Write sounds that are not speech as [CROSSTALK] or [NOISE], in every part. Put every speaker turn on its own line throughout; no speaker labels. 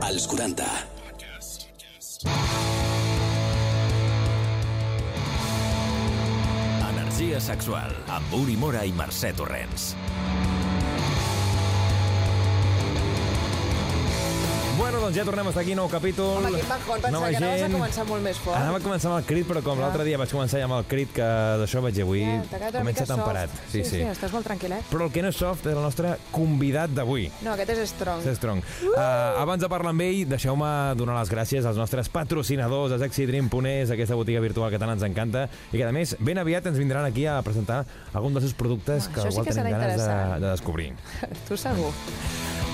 Als 40.
Energia sexual amb Uri Mora i Mercè Torrents.
Bueno, doncs ja tornem a estar aquí, nou capítol.
Home, quin bancón, pensava que anaves a començar molt més fort.
Anava a començar amb el crit, però com
Ja.
l'altre dia vaig començar ja amb el crit, que d'això vaig dir avui,
Ja, t'ha quedat una
comença
mica
temperat.
soft.
Sí, sí,
sí, estàs molt tranquil·let.
Però el que no és soft és el nostre convidat d'avui.
No, aquest és strong.
Ser Strong. Uh, abans de parlar amb ell, deixeu-me donar les gràcies als nostres patrocinadors, a Sexy Dream Ponés, aquesta botiga virtual que tant ens encanta, i que, a més, ben aviat ens vindran aquí a presentar algun dels seus productes
Home,
que
això sí
igual
que serà
tenim ganes de,
interessant.
de descobrir.
[LAUGHS] Tu segur.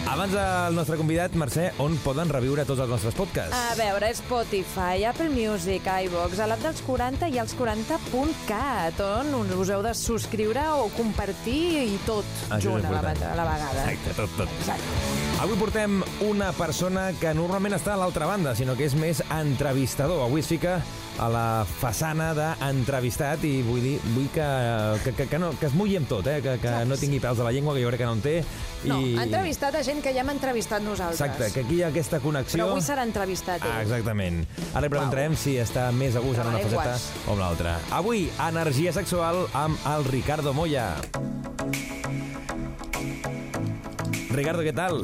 Abans del nostre convidat, Mercè, on poden reviure tots els nostres podcasts?
A veure, Spotify, Apple Music, iVox, a l'app dels 40 i els 40.cat, on us us heu de subscriure o compartir i tot
Ah, Això és
junt a la,
important.
vegada- a la vegada.
Exacte, tot, tot.
Exacte.
Avui portem una persona que normalment està a l'altra banda, sinó que és més entrevistador. Avui es fica a la façana d'entrevistat i vull dir vull que, que, que, que, no, que es mulli amb tot, eh? que, que no tingui pèls de la llengua, que jo crec que no en té.
No, ha entrevistat a gent que ja hem entrevistat nosaltres.
Exacte, que aquí hi ha aquesta
Però
connexió...
avui serà entrevistat. eh?
Ah,
ell.
exactament. Ara li preguntarem si està més a gust en una
Treballarem
faceta
guants.
o en l'altra. Avui, energia sexual amb el Ricardo Moya. Ricardo, què tal?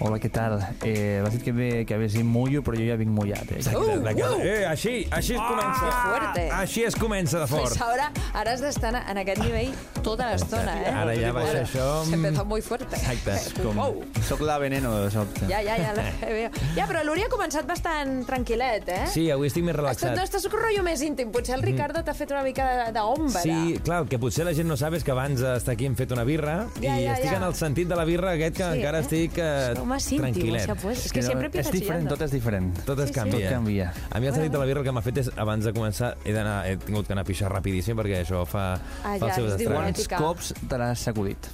Hola, ¿qué tal? Eh, vas a decir que, me- que a ver si mullo, pero yo ya vinc mullat. Eh?
Uh, la cara. Eh, així, així es comença.
que Ah, fuerte.
Així es comença de fort.
Pues ahora, ara has d'estar en aquest nivell tota l'estona, eh?
Ara ja baixa això...
Se empezó muy fuerte.
Exacte.
Com... Soc la veneno, de sobte.
Ja, ja, ja. la- veo. Ja, però l'Uri ha començat bastant tranquil·let, eh?
Sí, avui estic més
Estàs, no,
relaxat.
estàs un rotllo més íntim. Potser el Ricardo t'ha fet una mica de- d'ombra.
Sí, clar, el que potser la gent no sap és que abans d'estar aquí hem fet una birra
Ja,
i
ja,
estic
ja.
en el sentit de la birra aquest que
Sí,
encara
eh?
estic eh,
Sou más íntimos,
tranquil·let.
ja, pues. Es que siempre
és
empiezas
diferent,
chillando.
tot és diferent.
Tot es
Sí, sí.
canvia.
Tot canvia.
A mi el sentit de la birra el que m'ha fet és, abans de començar, he, d'anar, he tingut que anar a pixar rapidíssim perquè això fa,
Ah,
fa
ja,
els seus
es diu
estralls.
Quants
Ètica.
cops te l'has [LAUGHS] sacudit?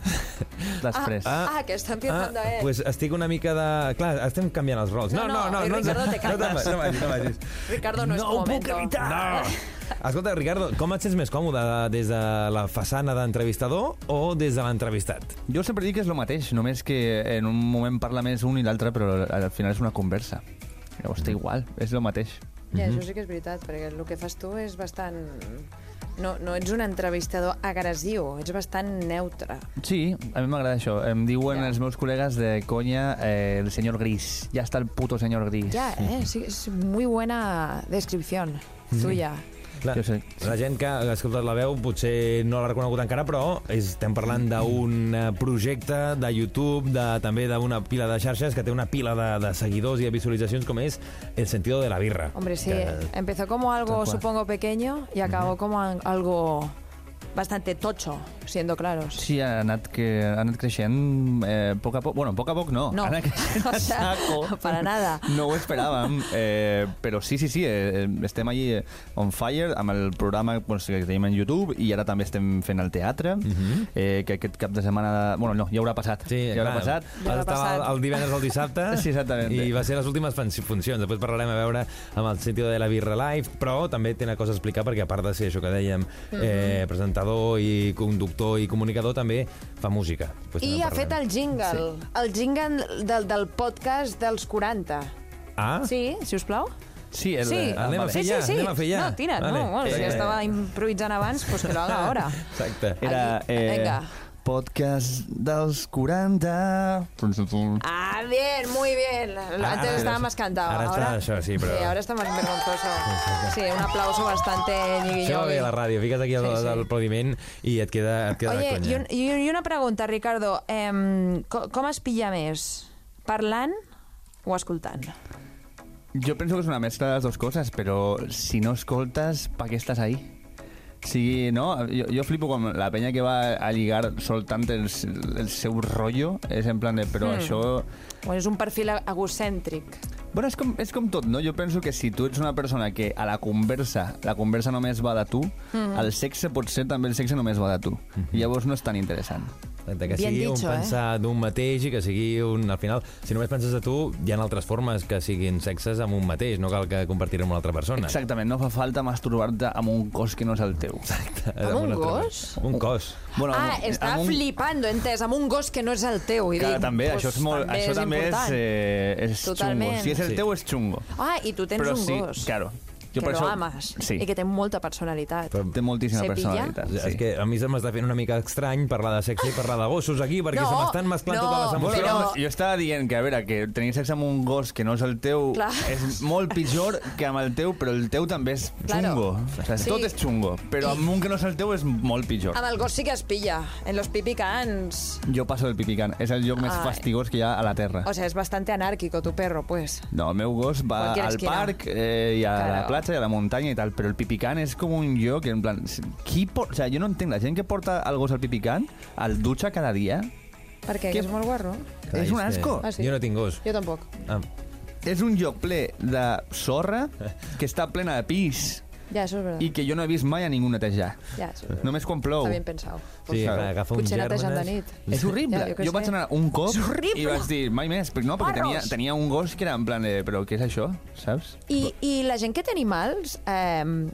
Després.
Ah, ah, que està empiezando
Ah,
él.
pues estic una mica de... Clar, estem canviant els rols.
No, no,
no,
eh,
no, ens-
Ricardo, te
no, te'n
calmes.
va- no, vagis, no, vagis.
Ricardo, no, es tu momento.
No! [LAUGHS] Escolta, Ricardo, com et sents més còmode? Des de la façana d'entrevistador o des de l'entrevistat?
Jo sempre dic que és el mateix, només que en un moment parla més un i l'altre, però al final és una conversa. Llavors està igual, és el mateix.
Ja, això sí que és veritat, perquè el que fas tu és bastant... No, no ets un entrevistador agressiu, ets bastant neutre.
Sí, a mi m'agrada això. Em diuen els meus col·legues de conya eh, el senyor gris. Ja està el puto senyor gris.
Ja, eh? Sí, és muy buena descripció tuya.
La,
Jo sé.
la gent que ha escoltat la veu potser no l'ha reconegut encara, però estem parlant d'un eh, projecte de YouTube, de, també d'una pila de xarxes que té una pila de, de seguidors i de visualitzacions com és El sentido de la birra.
Hombre, sí,
Que,
empezó como algo,
Tal cual.
supongo, pequeño y acabó como an- algo bastante tocho, siendo claros.
Sí, ha anat, que, ha anat creixent eh, poc a poc. Bueno, poc a poc no.
No.
Ha anat
[LAUGHS]
creixent
O
a
sea,
saco.
para nada.
No ho esperàvem, eh, però sí, sí, sí, eh, eh, estem allí eh, on fire amb el programa doncs, que tenim en YouTube i ara també estem fent el teatre, eh, que aquest cap de setmana... Bueno, no, ja haurà passat.
Mhm. sí,
ja haurà passat.
Ja haurà
Estava
passat.
El, el divendres al dissabte
[LAUGHS] Sí, exactament.
i va ser les últimes fan- funcions. Després parlarem a veure amb el sentido de la birra live, però també té una cosa a explicar perquè a part de ser això que dèiem,
Mhm.
eh, presentador i conductor i comunicador, també fa música. Pues
I
també
ha fet
parlarem.
el jingle, el jingle del, del podcast dels 40.
Ah?
Sí, si us plau.
Sí, el,
Sí.
ah,
Anem a
vale.
fer
sí,
ja,
sí, sí.
anem a fer ja.
No, tira,
Vale.
no. Bueno, si
Eh,
estava improvisant abans, pues que lo
[LAUGHS]
haga ahora.
Exacte.
Era... eh,
Allí. Vinga.
Podcast dels 40...
Ah, bien, muy bien. Antes
ahora
estaba
Ah, sí.
más cantado.
Ahora está eso, sí, pero-
Sí, ahora está más
[LAUGHS]
vergonzoso. Sí, un aplauso bastante ñigui
Això va bé a la ràdio, fiques aquí el,
Sí, sí.
el aplaudiment i et queda, et queda de
Oye,
conya.
i, un, i, i una pregunta, Ricardo. Eh, com, com es pilla més? Parlant o escoltant?
Jo penso que és una mescla de les dues coses, però si no escoltes, pa què estàs ahí? O sigui, no? Jo, jo flipo quan la penya que va a lligar soltant el, el seu rotllo és en plan de,
Hmm.
però mm. això...
O és un perfil egocèntric?
Bueno, és com, és com tot, no? Jo penso que si tu ets una persona que a la conversa, la conversa només va de tu, mm. el sexe potser també el sexe només va de tu. Mm -hmm. Llavors no és tan interessant.
de que
Bien
sigui
dicho,
un
eh?
pensar d'un mateix i que sigui un... Al final, si només penses a tu, hi ha altres formes que siguin sexes amb un mateix, no cal que compartir amb una altra persona.
Exactament, no fa falta masturbar-te amb un cos que no és el teu.
Exacte.
Amb un
una altra-
gos?
Amb un cos.
Bueno,
Ah,
amb un-
està
amb un-
flipando, entès, amb un gos que no és el teu. I
Clar,
dic,
també,
pues,
això és molt...
també
això
és
també és,
important.
eh, és xungo.
Totalment.
Si és el
Sí.
teu, és xungo.
Ah, i tu tens un
Però sí,
gos
claro.
que
Jo per
lo
això-
ames
Sí.
i que té molta personalitat.
Però-
Té moltíssima
Se pilla?
Ah,
personalitat.
Sí. És
sí.
que a mi se m'està fent una mica estrany parlar de sexe i parlar de gossos aquí, perquè
No,
se m'estan mesclant
no,
totes les
Bueno,
emocions.
però-
no, jo estava dient que, a veure, que tenir sexe amb un gos que no és el teu
Clar.
és molt pitjor que amb el teu, però el teu també és
Claro.
xungo. O sigui,
Sí.
Tot és xungo, però amb un que no és el teu és molt pitjor.
Amb el gos sí que es pilla, en los pipicans.
Jo passo del pipicant. És el lloc més
Ai.
fastigós que hi ha a la Terra.
O sea, es bastante anárquico tu perro, pues.
No, el meu gos va
Cualquier
al
esquina.
parc eh, i a la
Claro.
platja i a la muntanya i tal, però el pipicant és com un lloc en plan... Qui por... O sigui, jo no entenc, la gent que porta el gos al pipicant al dutxa cada dia
Per què?
Què-
Que és molt guarro?
Clar,
és un
que
asco.
Ah, sí?
eh? Jo no tinc gos.
Jo tampoc.
Ah,
és un lloc ple de sorra que està plena de pis
Ja, això és verdad.
i que jo no he vist mai a ningú netejar.
Ja, això és verdad.
Només quan plou.
Està ben pensat.
sí, clar, agafa un
Potser netejant de nit.
És horrible.
Ja, jo
jo,
què
jo vaig
sé.
anar un cop
És horrible.
i vaig dir, mai més. Però No, perquè tenia, tenia un gos que era en plan, eh, però què és això? Saps?
I, I la gent que té animals, eh,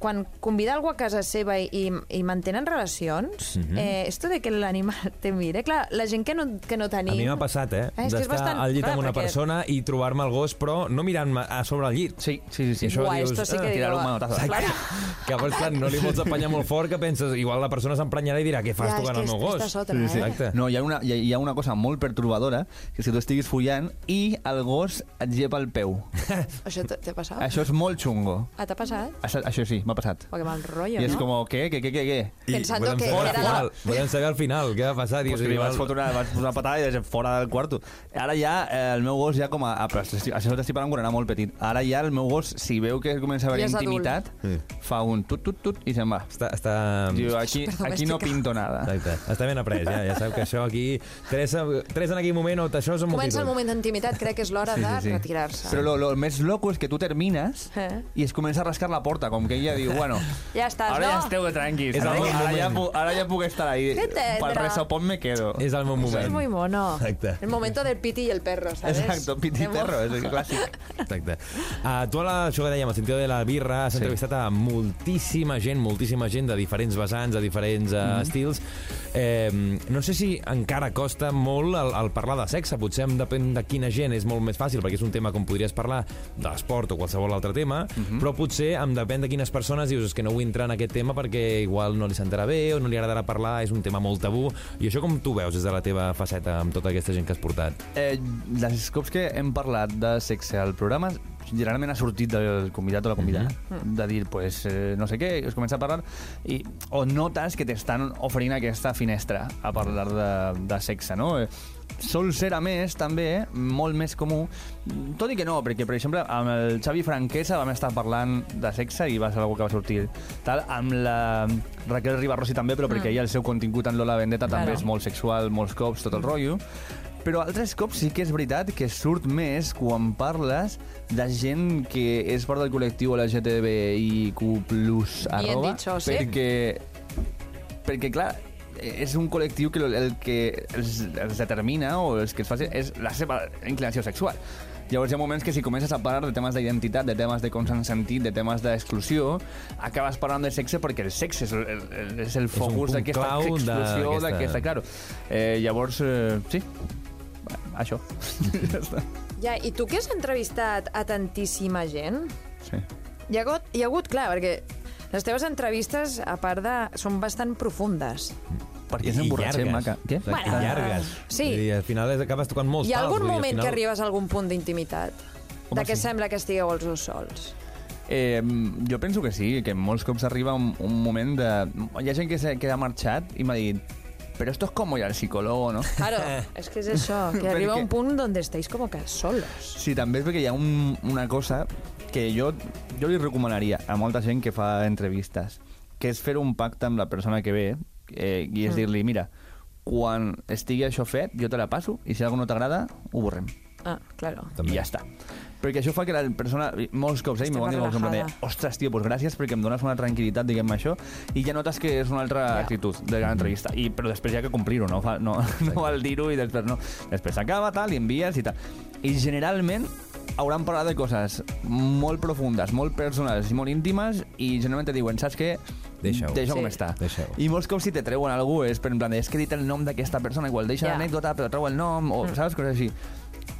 quan convida algú a casa seva i, i, i mantenen relacions,
Mhm.
eh, esto de que l'animal [LAUGHS] te mire, clar, la gent que no, que no tenim...
A mi m'ha passat, eh?
Ah, és que és
D'estar
bastant-
al llit
clar,
amb una
perquè-
persona i trobar-me el gos, però no mirant-me a sobre el llit.
Sí, sí, sí. sí.
Això
Uah,
dius,
esto sí
ah,
que
tirar
digo...
un manotazo.
Claro.
[LAUGHS] Que vols, clar, no li vols apanyar molt fort, que penses, igual la persona s'emprenyarà i dirà, què fas
Ja, és
tocant
que
el meu
és-
gos?
estàs otra, Sí, sí. eh?
Exacte.
No, hi ha, una, hi, ha, hi ha una cosa molt perturbadora, que és que tu estiguis follant i el gos et llepa el peu.
[LAUGHS]
Això t'ha t'ha passat?
Això és molt xungo.
Ah, t'ha passat?
Això, això sí, m'ha passat.
O que mal rotllo,
I és
no?
com, què, què, què, què, què?
I
Pensando
volem
que
saber
era
al
la-
final, Volem saber al final què va passar.
Pues
Dius,
que li vas
igual-
fotre una, vas fotre una patada i deixar fora del quarto. Ara ja eh, el meu gos ja com a... Ah, però estic- això t'estic parlant quan era molt petit. Ara ja el meu gos, si veu que comença a haver
Ja és
intimitat, fa un tut, tut, tut i se'n va.
Està, està...
Diu, aquí, aquí no
domèstica.
pinto nada.
Exacte. Està ben après, ja, ja sabeu que això aquí... Tres, tres en aquell moment o això és un
Comença el
multitud.
moment d'intimitat, crec que és l'hora de retirar-se.
Però lo, lo més loco és que tu termines
Eh?
i es comença a rascar la porta, com que ella diu, bueno...
Ja estàs,
ara
no?
ja esteu tranquils.
És el
Ara,
bon
ara, ja,
moment.
pu- ara ja puc estar ahí.
Què tendrà?
Pel resopón me quedo.
És el meu
Eso es muy
moment.
mono.
Exacte.
El momento del piti y el perro, ¿sabes?
Exacto, piti
Hemos-
perro, eh. és el clàssic.
Exacte. Uh, tu, a la, això que dèiem, al sentit de la birra, has
Sí.
entrevistat a moltíssima gent, moltíssima gent de diferents vessants, de diferents uh, estils. Eh, no sé si encara costa molt el, el parlar de sexe. Potser em depèn de quina gent és molt més fàcil, perquè és un tema com podries parlar d'esport o qualsevol altre tema, però potser em depèn de quines persones dius és que no vull entrar en aquest tema perquè igual no li sentarà bé o no li agradarà parlar, és un tema molt tabú. I això com tu veus des de la teva faceta amb tota aquesta gent que has portat?
Eh, dels cops que hem parlat de sexe al programa, generalment ha sortit del convidat o la convidada. De dir, pues, eh, no sé què, es comença a parlar i, o notes que t'estan oferint aquesta finestra a parlar de, de sexe, no? Eh, sol ser, a més, també, molt més comú, tot i que no, perquè, per exemple, amb el Xavi Franquesa vam estar parlant de sexe i va ser algú que va sortir tal, amb la Raquel Ribarrosi també, però perquè ella el seu contingut en Lola Vendetta també és molt sexual, molts cops, tot el
Mm.
rotllo, però altres cops sí que és veritat que surt més quan parles de gent que és part del col·lectiu LGTBIQ+, arroba,
dicho, sí.
perquè, perquè, clar, és un col·lectiu que el que els, els determina o els que els faci és la seva inclinació sexual. Llavors hi ha moments que si comences a parlar de temes d'identitat, de temes de consentit, de temes d'exclusió, acabes parlant de sexe perquè el sexe és el, el, el- és el
un
focus
punt
d'aquesta
clau
exclusió,
d'aquesta-
d'aquesta... Claro. Eh, llavors, eh, sí, això. [LAUGHS] ja està.
Ja, I tu que has entrevistat a tantíssima gent,
Sí.
hi ha hagut, hi ha hagut clar, perquè les teves entrevistes, a part de... són bastant profundes.
Perquè
I- i
s'emborratxem,
llargues.
maca. Què?
Exacte,
Bueno,
I llargues.
sí.
Vull dir, al final és- acabes tocant molts
Hi ha
pals,
algun
vull dir, al
moment
final...
que arribes a algun punt d'intimitat?
Home,
De què
sí.
sembla que estigueu els dos sols?
Eh, jo penso que sí, que molts cops arriba un, un moment de... Hi ha gent que, se, que ha marxat i m'ha dit però esto es como ir al psicólogo, ¿no?
Claro,
Eh.
[LAUGHS] és que és
[LAUGHS]
això, que
Perquè-
arriba un punt on estáis como que solos.
Sí, també és perquè hi ha un, una cosa que jo, jo li recomanaria a molta gent que fa entrevistes, que és fer un pacte amb la persona que ve eh, i és dir-li, mira, quan estigui això fet, jo te la passo i si alguna no t'agrada, ho borrem.
Ah, claro.
També. I ja està. Perquè això fa que la persona, molts cops, eh, m'ho van dir molts cops, em van dir, ostres, tio, doncs gràcies perquè em dones una tranquil·litat, diguem-ne això, i ja notes que és una altra yeah. actitud de la entrevista. I, però després ja que complir-ho, no, fa, no, [LAUGHS] no val dir-ho i després no. Després s'acaba, tal, i envies i tal. I generalment hauran parlat de coses molt profundes, molt personals i molt íntimes i generalment et diuen, saps què?
Deixa-ho.
Deixa sí. com està.
Deixa
I molts cops si te treuen algú és per en plan, de, és que he dit el nom d'aquesta persona, igual deixa yeah. l'anècdota, però treu el nom, o mm. saps? Coses així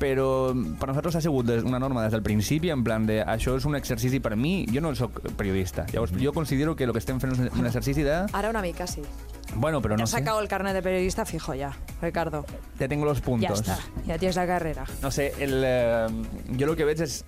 però mm, per nosaltres ha sigut una norma des del principi, en plan de això és un exercici per mi, jo no sóc periodista, llavors jo considero que el que estem fent és un exercici de...
Ara una mica, sí.
Bueno, pero
te
no
has
sé.
sacado el carnet de periodista fijo ya, Ricardo.
Te tengo los puntos.
Ya está, ya tienes la carrera.
No sé, el, eh, jo el que veig és...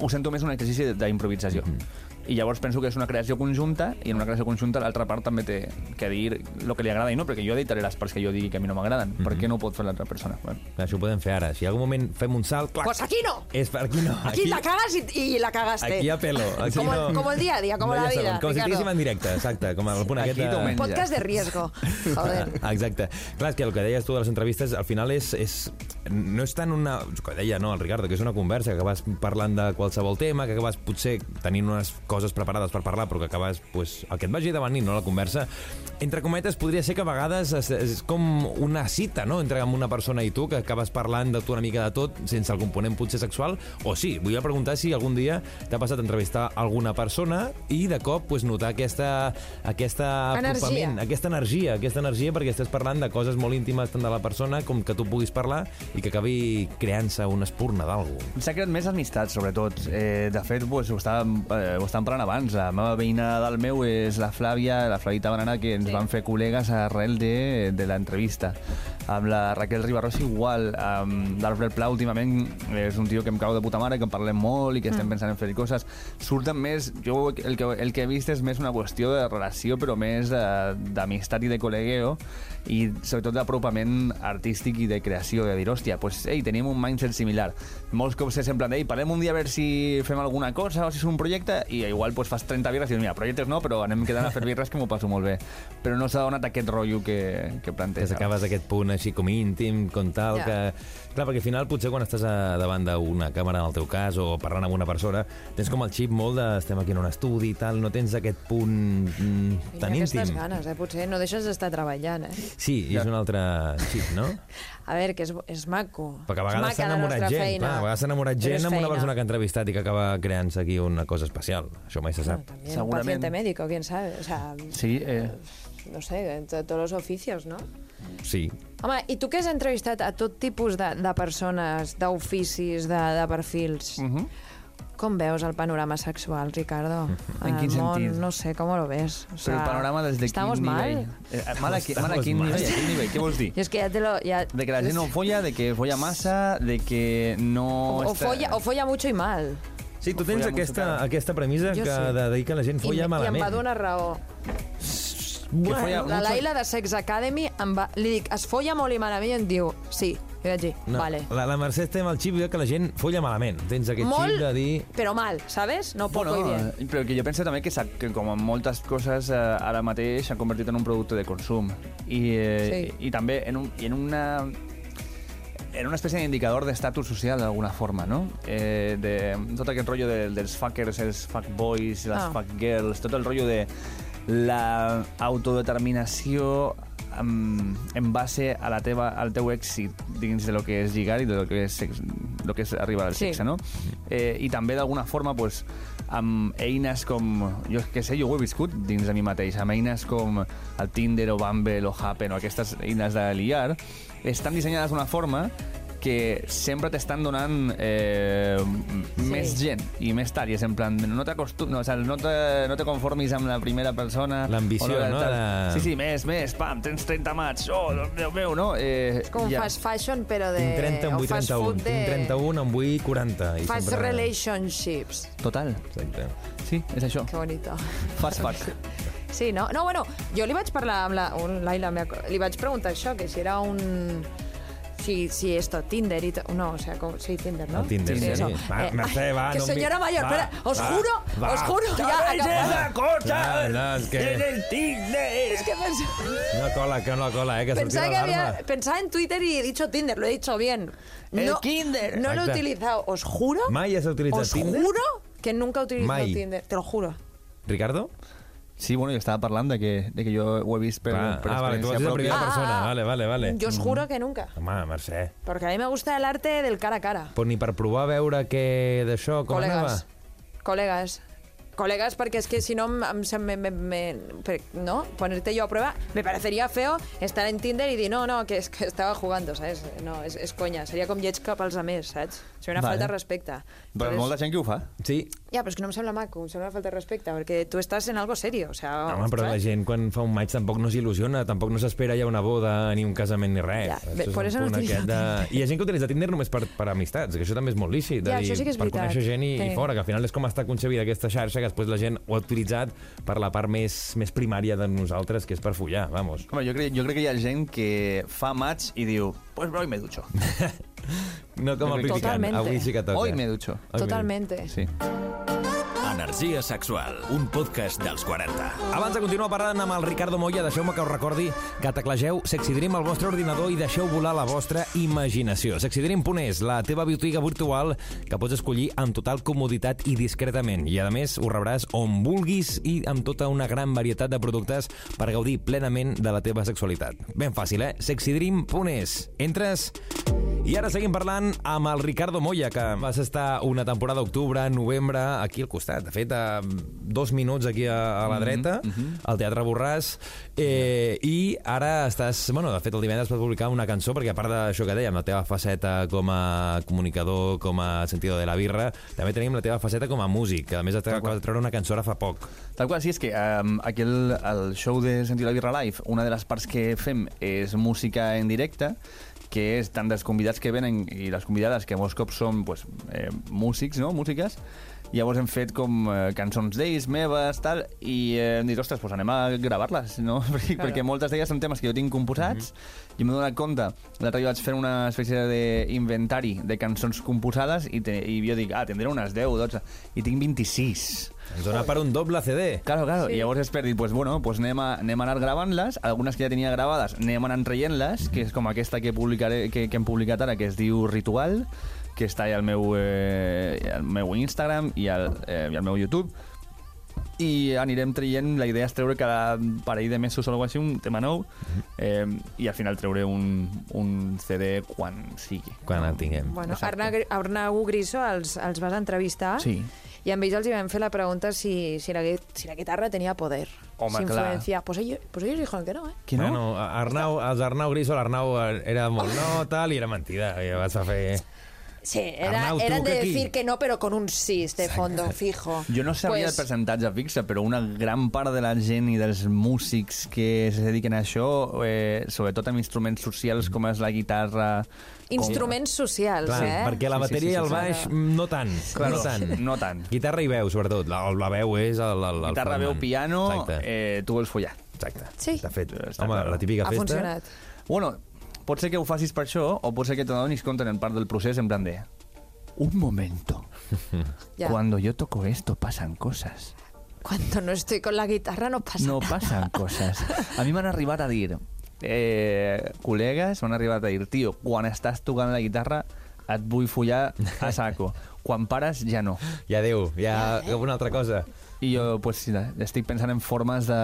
Ho sento més un exercici d'improvisació. Mm -hmm i llavors penso que és una creació conjunta i en una creació conjunta l'altra part també té que dir el que li agrada i no, perquè jo editaré les parts que jo digui que a mi no m'agraden, mm -hmm. per què no ho pot fer l'altra persona? Bueno.
Això ho podem fer ara, si en algun moment fem un salt... Clac,
pues aquí no!
És per aquí no.
Aquí, aquí la cagas i, i la cagaste.
Aquí a pelo. Aquí
com,
no,
el, com el dia a dia, com
no
no la
ja
vida,
saben, Com si estiguéssim en directe, exacte, com el punt
Aquí
aquest...
t'ho menges.
Podcast
[LAUGHS]
de riesgo. Joder.
Ah, Exacte. Clar, és que el que deies tu de les entrevistes, al final és... és no és tant una... El que deia, no, el Ricardo, que és una conversa, que vas parlant de qualsevol tema, que acabes potser tenint unes coses preparades per parlar, però que acabes... Pues, el que et vagi davant i no la conversa. Entre cometes, podria ser que a vegades és, és com una cita, no?, entre amb una persona i tu, que acabes parlant de tu una mica de tot, sense el component potser sexual, o sí, vull preguntar si algun dia t'ha passat a entrevistar alguna persona i de cop pues, notar aquesta, aquesta
Energia.
apropament, aquesta energia, aquesta energia perquè estàs parlant de coses molt íntimes tant de la persona com que tu puguis parlar i que acabi creant-se una espurna d'algú.
S'ha creat més amistat, sobretot. Eh, de fet, pues, ho, estàvem, eh, ho estàvem parlant abans. La meva veïna del meu és la Flàvia, la Flavita Banana, que ens sí. van fer col·legues arrel de, de l'entrevista. Amb la Raquel Ribarros igual. Amb l'Alfred Pla, últimament, és un tio que em cau de puta mare, que en parlem molt i que estem pensant en fer coses. Surten més... Jo el que, el que he vist és més una qüestió de relació, però més eh, d'amistat i de col·legueo i sobretot d'apropament artístic i de creació, de dir, hòstia, pues, ei, tenim un mindset similar. Molts cops és en plan, de, ei, parlem un dia a veure si fem alguna cosa o si és un projecte, i igual pues, fas 30 birres i dius, mira, projectes no, però anem quedant a fer birres que m'ho passo molt bé. Però no s'ha donat aquest rotllo que, que
Que
planteja.
acabes aquest punt així com íntim, com tal,
Ja.
que... Clar, perquè al final potser quan estàs a, davant d'una càmera, en el teu cas, o parlant amb una persona, tens com el xip molt de estem aquí en un estudi i tal, no tens aquest punt mm, tan
Mira aquestes
íntim.
ganes, eh? Potser no deixes d'estar treballant, eh?
Sí, i és un altre xip, no?
A veure, que és, és maco.
Perquè a
És
vegades
maca
s'ha
la
enamorat
nostra
gent,
feina.
clar, a vegades s'ha enamorat
Però és
gent amb una
feina.
persona que ha entrevistat i que acaba creant-se aquí una cosa especial. Això mai se
Bueno,
sap.
también
Segurament.
paciente médico, quién sabe. O sea,
Sí, eh,
no sé, en to- todos los oficios, ¿no?
Sí.
Home, i tu que has entrevistat a tot tipus de, de persones, d'oficis, de, de perfils, uh
Mhm.
-huh. com veus el panorama sexual, Ricardo?
En quin
el món,
sentit?
no sé, com ho ves? O
però el panorama des de quin
estamos
nivell?
Mal?
Eh, mal, a, qui- mal a quin
Estamos mal.
nivell? A quin nivell? Què vols dir?
Jo és que ja te lo... Ja...
De que la gent no folla, de que folla massa, de que no...
O, o,
està-
folla, o folla mucho i mal.
Sí, tu tens
Follar
aquesta,
música.
aquesta premissa
Jo
que
sí.
de dir que la gent folla
I,
malament.
I em va donar raó.
Que
Eh,
folla
La
mucho-
Laila de Sex Academy em va... Li dic, es folla molt i malament? I em diu, sí. I vaig dir,
No,
vale.
la, la Mercè té amb el xip de que la gent folla malament. Tens aquest
Molt,
xip de dir...
però mal, ¿sabes? No poco i bien.
eh, però que jo penso també que, s'ha- que com en moltes coses eh, ara mateix s'ha convertit en un producte de consum i, eh,
Sí.
i també en, un, i en una en una espècie d'indicador d'estatus social d'alguna forma, no? Eh, de, tot aquest rotllo de, dels fuckers, els fuckboys, les
Ah.
fuckgirls, tot el rotllo de la autodeterminació en, en base a la teva, al teu èxit dins de lo que és lligar i de lo que és, sex, lo que és arribar al
Sí.
sexe, no? Eh, I també d'alguna forma, pues, amb eines com... Jo que sé, jo ho he viscut dins de mi mateix, amb eines com el Tinder o Bumble o Happen o aquestes eines de liar, estan dissenyades d'una forma que sempre t'estan donant eh, sí. més gent i més tard, i és en plan, no t'acostum... No, o sigui, no, te, no te conformis amb la primera persona...
L'ambició,
o
no?
tal.
De-
Sí, sí, més, més, pam, tens 30 mats, oh, Déu meu, no? Eh,
És com un fast fashion, però de...
Tinc 30, en
o
vull
fast
31.
food de-
Tinc 31, en vull 40. I
Fast
sempre-
relationships.
Total,
Exacte.
sí, és això.
Que bonito.
Fast fast.
Sí, no? No, bueno, jo li vaig parlar amb la... Un, Laila, m'he acord- li vaig preguntar això, que si era un... Sí, sí, esto, Tinder y todo. No, o sea, como, sí, Tinder, ¿no?
El Ah, Tinder,
sí.
sí.
eso.
Va,
Eh,
Mercè, va,
que
no em vi-
senyora mayor,
va,
espera, os
va,
juro,
va.
os juro, ya
eh.
acabo.
Ah. La verdad és que...
el Tinder!
Es que pensaba,
No cola, que no cola, eh, que sortia
pensaba que
l'alarma.
había, pensaba en Twitter y he dicho Tinder, lo he dicho bien.
El
No,
Kinder.
No lo he
Exacte.
utilizado, os juro.
Mai has utilitzat
Os
Tinder?
juro que nunca he utilizado
Mai.
Tinder, te lo juro.
Ricardo?
Sí, bueno, jo estava parlant de que, de que jo ho he vist per,
Va,
per
ah, vale, tu ho has dit
experiència
en
pròpia.
primera persona.
Ah,
Vale, vale, vale.
Yo os juro que nunca.
Home, Mercè,
Porque a mí me gusta el arte del cara a cara.
però ni per provar a veure què d'això, com anava?
Col·legues. Col·legues. Col·legues, perquè és que si no, em, em, sem- me, me, me, per- no, ponerte yo a prueba, me parecería feo estar en Tinder y decir, no, no, que, es, que estaba jugando, ¿sabes? No, és, és conya, seria com lleig cap als altres, saps? Seria una vale.
Vale.
falta de respecte.
Però
Ah.
molta gent que ho fa.
Sí,
Ja, però és que no em sembla maco, em sembla una falta de respecte, perquè tu estàs en algo serio, o sea...
Home, però la
Ah, saps?
gent quan fa un maig tampoc no s'il·lusiona, tampoc no s'espera ja una boda, ni un casament, ni res.
Ja,
Això
bé,
és
per
un
això no
punt
utilitzo
aquest de... I hi ha gent que utilitza Tinder només per, per amistats, que això també és molt lícit, de
Ja,
dir,
això sí que és
per
veritat.
conèixer gent i,
Sí.
i fora, que al final és com està concebida aquesta xarxa, que després la gent ho ha utilitzat per la part més, més primària de nosaltres, que és per follar,
[LAUGHS]
vamos.
Home, jo crec, jo crec que hi ha gent que fa maig i diu pues bro, hoy me [LAUGHS] ducho.
No com el Pipican,
Totalmente.
avui sí que toca.
Hoy me ducho.
Hoy me-
Totalmente.
Sí.
Energia sexual, un podcast dels 40.
Abans de continuar parlant amb el Ricardo Moya, deixeu-me que us recordi que teclegeu Sexy Dream al vostre ordinador i deixeu volar la vostra imaginació. Sexy Dream punt és la teva botiga virtual que pots escollir amb total comoditat i discretament. I, a més, ho rebràs on vulguis i amb tota una gran varietat de productes per gaudir plenament de la teva sexualitat. Ben fàcil, eh? sexydream.es. Entres i ara seguim parlant amb el Ricardo Moya, que vas estar una temporada d'octubre, novembre, aquí al costat. De fet, a dos minuts aquí a, a la dreta, mm -hmm. al Teatre Borràs, eh, i ara estàs... Bueno, de fet, el divendres vas publicar una cançó, perquè a part d'això que dèiem, la teva faceta com a comunicador, com a sentido de la birra, també tenim la teva faceta com a músic, que a més acabes de treure una cançó ara fa poc.
Tal qual, sí, és que um, aquí el, el show de Sentir la Birra Live, una de les parts que fem és música en directe, que és tant dels convidats que venen i les convidades, que molts cops són pues, eh, músics, no?, músiques, Llavors hem fet com eh, cançons d'ells, meves, tal, i eh, hem dit, ostres, doncs anem a gravar-les, no? [LAUGHS] Perquè, perquè moltes d'elles són temes que jo tinc composats, mm -hmm. i m'he donat compte, l'altre dia vaig fer una espècie d'inventari de cançons composades, i, te, i jo dic, ah, tindré unes 10, 12, i tinc 26.
Ens dona per un doble CD.
Claro, claro. Sí. Llavors és per dir, pues, bueno, pues anem, a, anem a anar gravant-les. Algunes que ja tenia gravades anem anant traient-les, que és com aquesta que, publicaré, que, que hem publicat ara, que es diu Ritual, que està al meu, eh, al meu Instagram i al, eh, i al meu YouTube. I anirem traient, la idea és treure cada parell de mesos o alguna cosa així, un tema nou, eh, i al final treure un, un CD quan sigui.
Quan el tinguem.
Bueno,
Exacte.
Arnau, Arnau Griso els, els vas entrevistar
Sí.
i amb ells els hi vam fer la pregunta si, si, la, gui- si la guitarra tenia poder,
Home,
si
clar.
influencia. Pues ellos, pues ellos dijeron que no, ¿eh?
Que no?
Bueno, a- Arnau, els Arnau Grisol, Arnau eh, era molt no, tal, i era mentida. I vas a fer...
Sí, era,
Arnau,
eran de
truca aquí.
decir que no, pero con un sí de fondo fijo.
Jo no sabia pues... el percentatge fixe, però una gran part de la gent i dels músics que es dediquen a això, eh, sobretot amb instruments socials com és la guitarra...
Instruments socials,
Clar,
eh?
perquè la
Sí, sí,
bateria
sí,
i el
sí,
baix mm, no tant.
Claro,
no tant.
no tant.
Guitarra i veu, sobretot. La, la veu és el, el, el
Com... Guitarra, veu,
frontman.
piano,
Exacte.
eh, tu vols follar.
Exacte.
Sí.
De fet,
Està
home,
clar.
la típica
Ha
festa...
funcionat.
Bueno, pot ser que ho facis per això, o pot ser que t'adonis compte en part del procés, en plan de... Un momento.
Ya.
Cuando yo toco esto pasan cosas.
Cuando no estoy con la guitarra no pasa
No
nada.
passen coses. A mi m'han arribat a dir... Eh, col·legues m'han arribat a dir tio, quan estàs tocant la guitarra et vull follar a saco. Quan pares, ja no.
Ja adéu, ja
eh?
alguna altra cosa.
I jo pues, sí, estic pensant en formes de,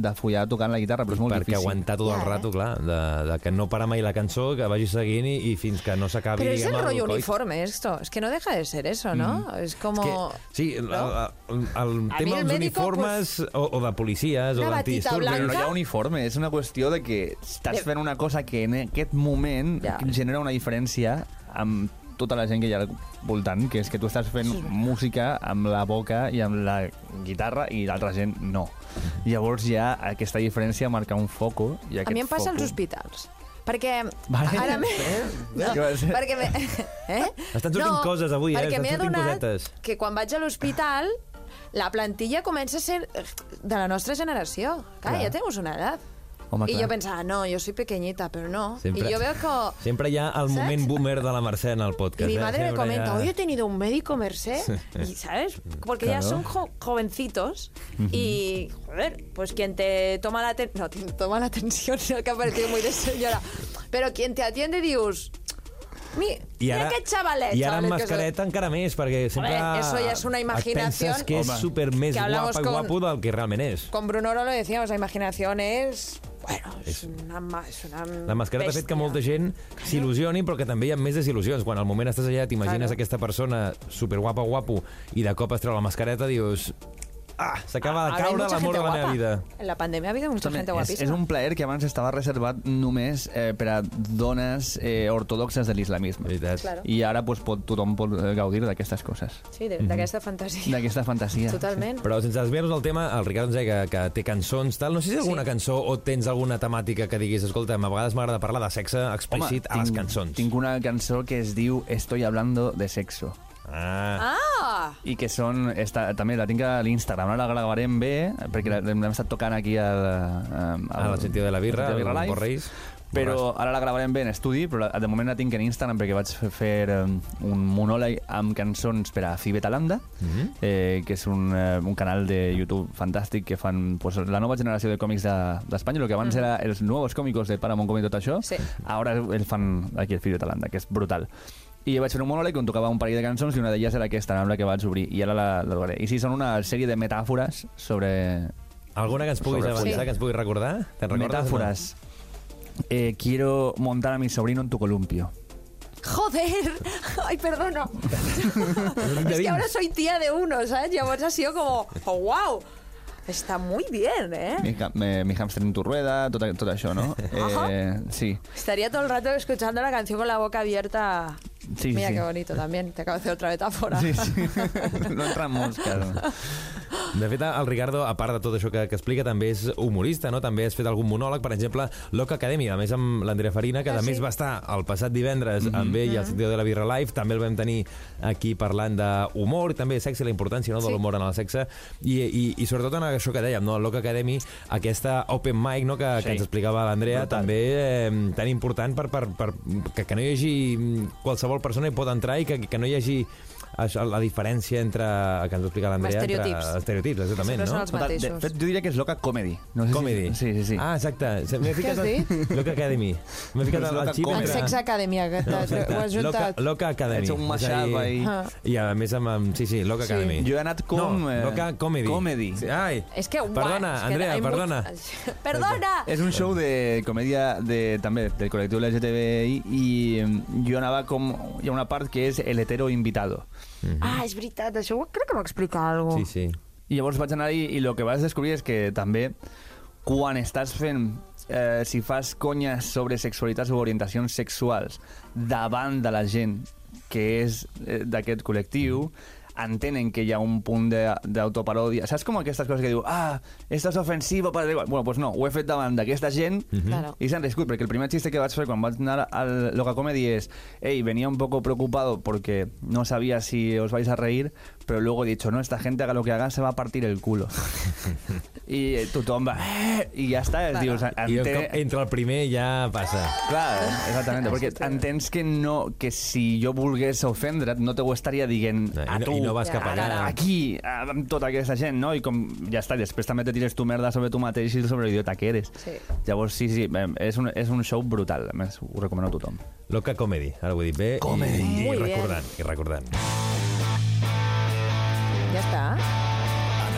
de follar tocant la guitarra, però és molt
Perquè
difícil.
aguantar tot el
Ja, eh?
rato, clar, de, de que no para mai la cançó, que vagi seguint i, i fins que no s'acabi...
Pero es el
diguem,
rollo
coit.
uniforme esto. Es que no deja de ser eso, ¿no?
És
Es
que,
como...
sí, el, el, el
A mi
tema
el
dels
médico,
uniformes o, o de policies o
Una
d'antidisturbis...
batita
Però no hi ha
blanca.
uniforme, és una qüestió de que estàs
De-
fent una cosa que en aquest moment
Ja.
genera una diferència amb tota la gent que hi ha al voltant, que és que tu estàs fent música amb la boca i amb la guitarra i l'altra gent no. Llavors ja aquesta diferència marca un foco i aquest
A mi em passa als
foco...
hospitals. Perquè
Vale.
ara
[LAUGHS]
me...
¿Eh?
No,
Què va ser?
perquè me... Eh?
Estan sortint coses avui, eh?
Perquè
Estan
m'he
sortint
adonat
cosetes.
que quan vaig a l'hospital la plantilla comença a ser de la nostra generació. Clar,
Clar.
ja tenemos una edat.
Home,
y
clar.
yo pensaba, no, yo soy pequeñita, pero no.
Siempre-
Y yo
[LAUGHS]
veo que...
Sempre hi ha el
Saps?
moment boomer de la Mercè en el
Y
podcast.
mi
eh?
madre me
Sempre
comenta,
hi ha-
hoy he tenido un médico Merced,
Sí.
y, ¿sabes? Porque
Claro.
ya son jo- jovencitos y, joder, pues quien te toma la atención, no, te toma la atención, [LAUGHS] no, que ha parecido muy de señora, pero quien te atiende, dius, mi,
I
mira
ara,
qué chavalet.
I ara amb
chavalet que soy".
mascareta encara més, perquè sempre...
Hombre, eso ya es una
Et
imaginación.
penses que és
Home.
super més
Que hablamos
guapa i
con-
guapo del que realment és.
Con Bruno Oro lo decíamos, la imaginación es... Bueno,
És-
es, una... ma- Es una
La mascareta ha fet que molta gent s'il·lusioni, però que també hi ha més desil·lusions. Quan al moment estàs allà, t'imagines
Claro.
aquesta persona superguapa, guapo, i de cop es treu la mascareta, dius... Ah, s'acaba de
Habrá
caure
mucha
l'amor
gente
de la meva
guapa.
vida.
En la pandemia ha habido mucha
També
gente
és,
guapísima.
és un plaer que abans estava reservat només eh, per a dones eh, ortodoxes de l'islamisme.
Veritat.
Claro.
I ara pues, pot, tothom pot eh, gaudir d'aquestes coses,
Sí, de, d'aquesta fantasia.
d'aquesta fantasia.
Totalment.
Però sense desviar-nos del tema, el Ricard ens deia que, que té cançons, tal. No sé si hi ha alguna
Sí.
cançó o tens alguna temàtica que diguis, escolta, a vegades m'agrada parlar de sexe explícit a les cançons.
Tinc una cançó que es diu Estoy hablando de sexo.
Ah,
Ah!
I que són... Esta, també la tinc a l'Instagram, ara la gravarem bé, perquè la- l'hem estat tocant aquí al... al,
a la sentida de la birra,
al
el
Sentido de la Birra Live.
Borreis.
Però ara la gravarem bé en estudi, però la- de moment la tinc en Instagram perquè vaig fer- fer eh, un monòleg amb cançons per a Fibetalanda, eh, que és un, eh, un canal de YouTube fantàstic que fan pues, la nova generació de còmics de- d'Espanya, de, el que abans era els nous còmics de Paramount Com i tot això,
Sí.
ara el fan aquí al Fibetalanda, que és brutal. I vaig fer un monòleg on tocava un parell de cançons i una d'elles era aquesta, amb la que vaig obrir, i ara la, la tocaré. I sí, són una sèrie de metàfores sobre
Alguna que ens puguis
Sobre
avançar,
Sí.
que ens puguis recordar? Te'n recordes?
metáforas. Eh, quiero montar a mi sobrino en tu columpio.
Joder, [LAUGHS] ay, perdona. es que ahora soy tía de uno, ¿sabes? Y ahora ha sido como, oh, wow, está muy bien, ¿eh?
Mi, ha- me- mi hámster en tu rueda, tot, tot això, no? Eh, sí.
Estaría todo el rato escuchando la canción con la boca abierta.
Sí,
Mira
sí.
qué bonito también, te acabo de hacer otra metáfora.
Sí, sí. [LAUGHS] No entran mosques.
De fet, el Ricardo, a part de tot això que, que explica, també és humorista, no? També has fet algun monòleg, per exemple, Loca Academy, a més amb l'Andrea Farina, que a més va estar el passat divendres amb ell i al Sentido de la Birra Live. També el vam tenir aquí parlant d'humor, també sexe, la importància no, de l'humor en el sexe, i, i, i sobretot en això que dèiem, no? Loca Academy, aquesta open mic no? que, sí. que ens explicava l'Andrea, també eh, tan important per, per, per que, que no hi hagi qualsevol persona hi pot entrar i que, que no hi hagi això, la diferència entre, que ens ho explica l'Andrea,
Estereotips.
entre estereotips, exactament,
Sempre
no?
són els
Total, de
mateixos.
fet, jo diria que és loca comedy. No sé
Comedy.
Si, sí, sí, sí.
Ah, exacte. Se- M'he ficat...
has dit?
Loca Academy.
[LAUGHS]
M'he ficat
Doncs
al
Loca
xip
Comedy.
entre-
Exacte.
Sex eh, Academia, que
No,
t'has-
exacte.
ho has
Loca,
juntat.
Loca Academy.
Ets un
És a
mashup
dir-
ahí.
Ah.
I a més amb... amb- Sí, sí, Loca Academy.
Jo he anat com...
No,
eh,
Loca Comedy.
Comedy.
Sí, ai,
Es que, guau,
perdona,
es que
Andrea,
hay mu-
perdona.
[LAUGHS] ¡Perdona!
És un show de comèdia de, també del col·lectiu LGTBI i mm, jo anava com... Hi ha una part que és el hetero invitado.
Ah, es verdad, yo creo que me explica algo.
Sí, sí.
I llavors vaig anar i, i el que vas descobrir és que també quan estàs fent eh, si fas conyes sobre sexualitats o orientacions sexuals davant de la gent que és eh, d'aquest col·lectiu entenen que hi ha un punt de- d'autoparòdia. Saps com aquestes coses que diu ah, esto es ofensivo para... el igual". Bueno, pues no, ho he fet davant d'aquesta gent
Claro.
y se han rescut, porque el primer chiste que vas a hacer cuando vas a anar al Loca Comedy es, hey, venía un poco preocupado porque no sabía si os vais a reír, pero luego he dicho, no, esta gente haga lo que haga, se va a partir el culo. [LAUGHS] y eh, tu tomba, "Eh", y ya está. es diu, o sea,
I un
ente-
cop entre el primer ja passa.
Clar, eh, exactament, perquè entens que no, que si jo volgués ofendre't no te ho estaria dient
No, i
a
no-
tu,
i no vas cap
ara,
allà.
aquí, amb tota aquesta gent, no? I com, ja està, després també te tires tu merda sobre tu mateix i sobre l'idiota que eres.
Sí.
Llavors, sí, sí, eh, és un, és un show brutal, a més, ho recomano a tothom.
Loca Comedy, ara ho he dit bé. Comedy. I, i
Muy bien.
recordant, i recordant.
Ya está.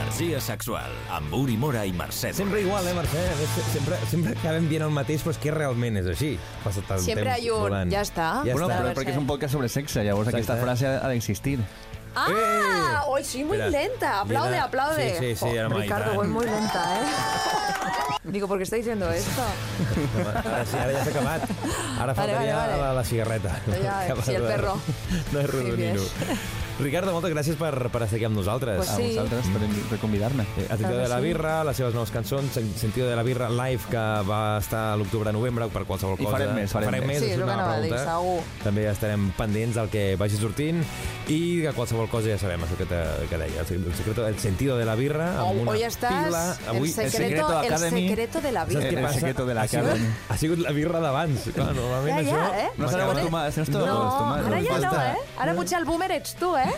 Energia sexual amb Uri Mora i Mercè
Sempre
Torrent.
igual, eh, Mercè? A més, Sempre, sempre acabem dient el mateix, però és que realment és així. Passa tant
Sempre
temps
hi ha un,
volant.
ja està.
Ja
bueno,
està.
però perquè és un podcast sobre sexe, llavors
Exacte.
aquesta frase ha, ha d'existir.
Eh,
¡Ah! Hoy sí, muy
Espera.
lenta. Aplaude,
Mira.
aplaude.
Sí, sí, sí,
Jo,
era mai
Ricardo,
tant.
voy
[LAUGHS]
muy lenta, ¿eh? Digo, ¿por qué está diciendo esto? [LAUGHS]
Ara sí, ara ja s'ha acabat. Ara faltaria
vale,
[LAUGHS]
vale.
La, la cigarreta.
Ja,
Cap
sí, el
a-
perro.
No és rodonino.
Sí,
Ricardo, moltes gràcies per, per estar aquí amb nosaltres.
A vosaltres per, per convidar-me.
Eh, El Sentido de la Birra, les seves noves cançons, Sen- Sentido de la Birra live, que va estar a l'octubre-novembre, per qualsevol
I
cosa.
farem més, farem més.
Sí,
és
el que
una
anava a dir,
pregunta.
segur.
També estarem pendents del que vagi sortint i de qualsevol cosa ja sabem, això que, te, que deia. El secret- El, secreto, el sentido de la birra, amb Ah, una
Hoy estás
pila...
el, secreto,
Secreto
el
Academy.
secreto de la
Saps
vida.
què
El
passa?
secreto de la
ha, sigut,
Academy.
ha sigut la birra d'abans. Clar, normalment
Ja, ja,
això...
eh?
No s'han
m'acaba-
acostumat, no s'han
No,
acostumat.
ara ja no,
Basta.
eh? Ara potser el boomer ets tu, eh?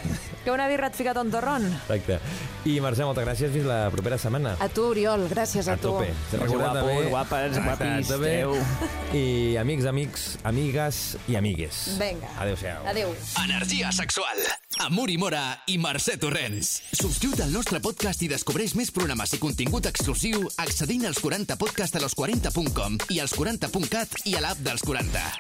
Que una birra et fica tontorrón.
Exacte. I Mercè, moltes gràcies. Fins la propera setmana.
A tu, Oriol, gràcies a,
a
tu.
tope.
Guapo, guapes,
Exacte,
guapis,
també.
adeu.
I amics, amics, amigues i amigues.
Vinga.
Adéu-siau.
Adéu.
Energia sexual. Amor i Mora i Mercè Torrents. Subscriu't al nostre podcast i descobreix més programes i contingut exclusiu accedint als 40podcastalos40.com i als 40.cat i a l'app dels 40.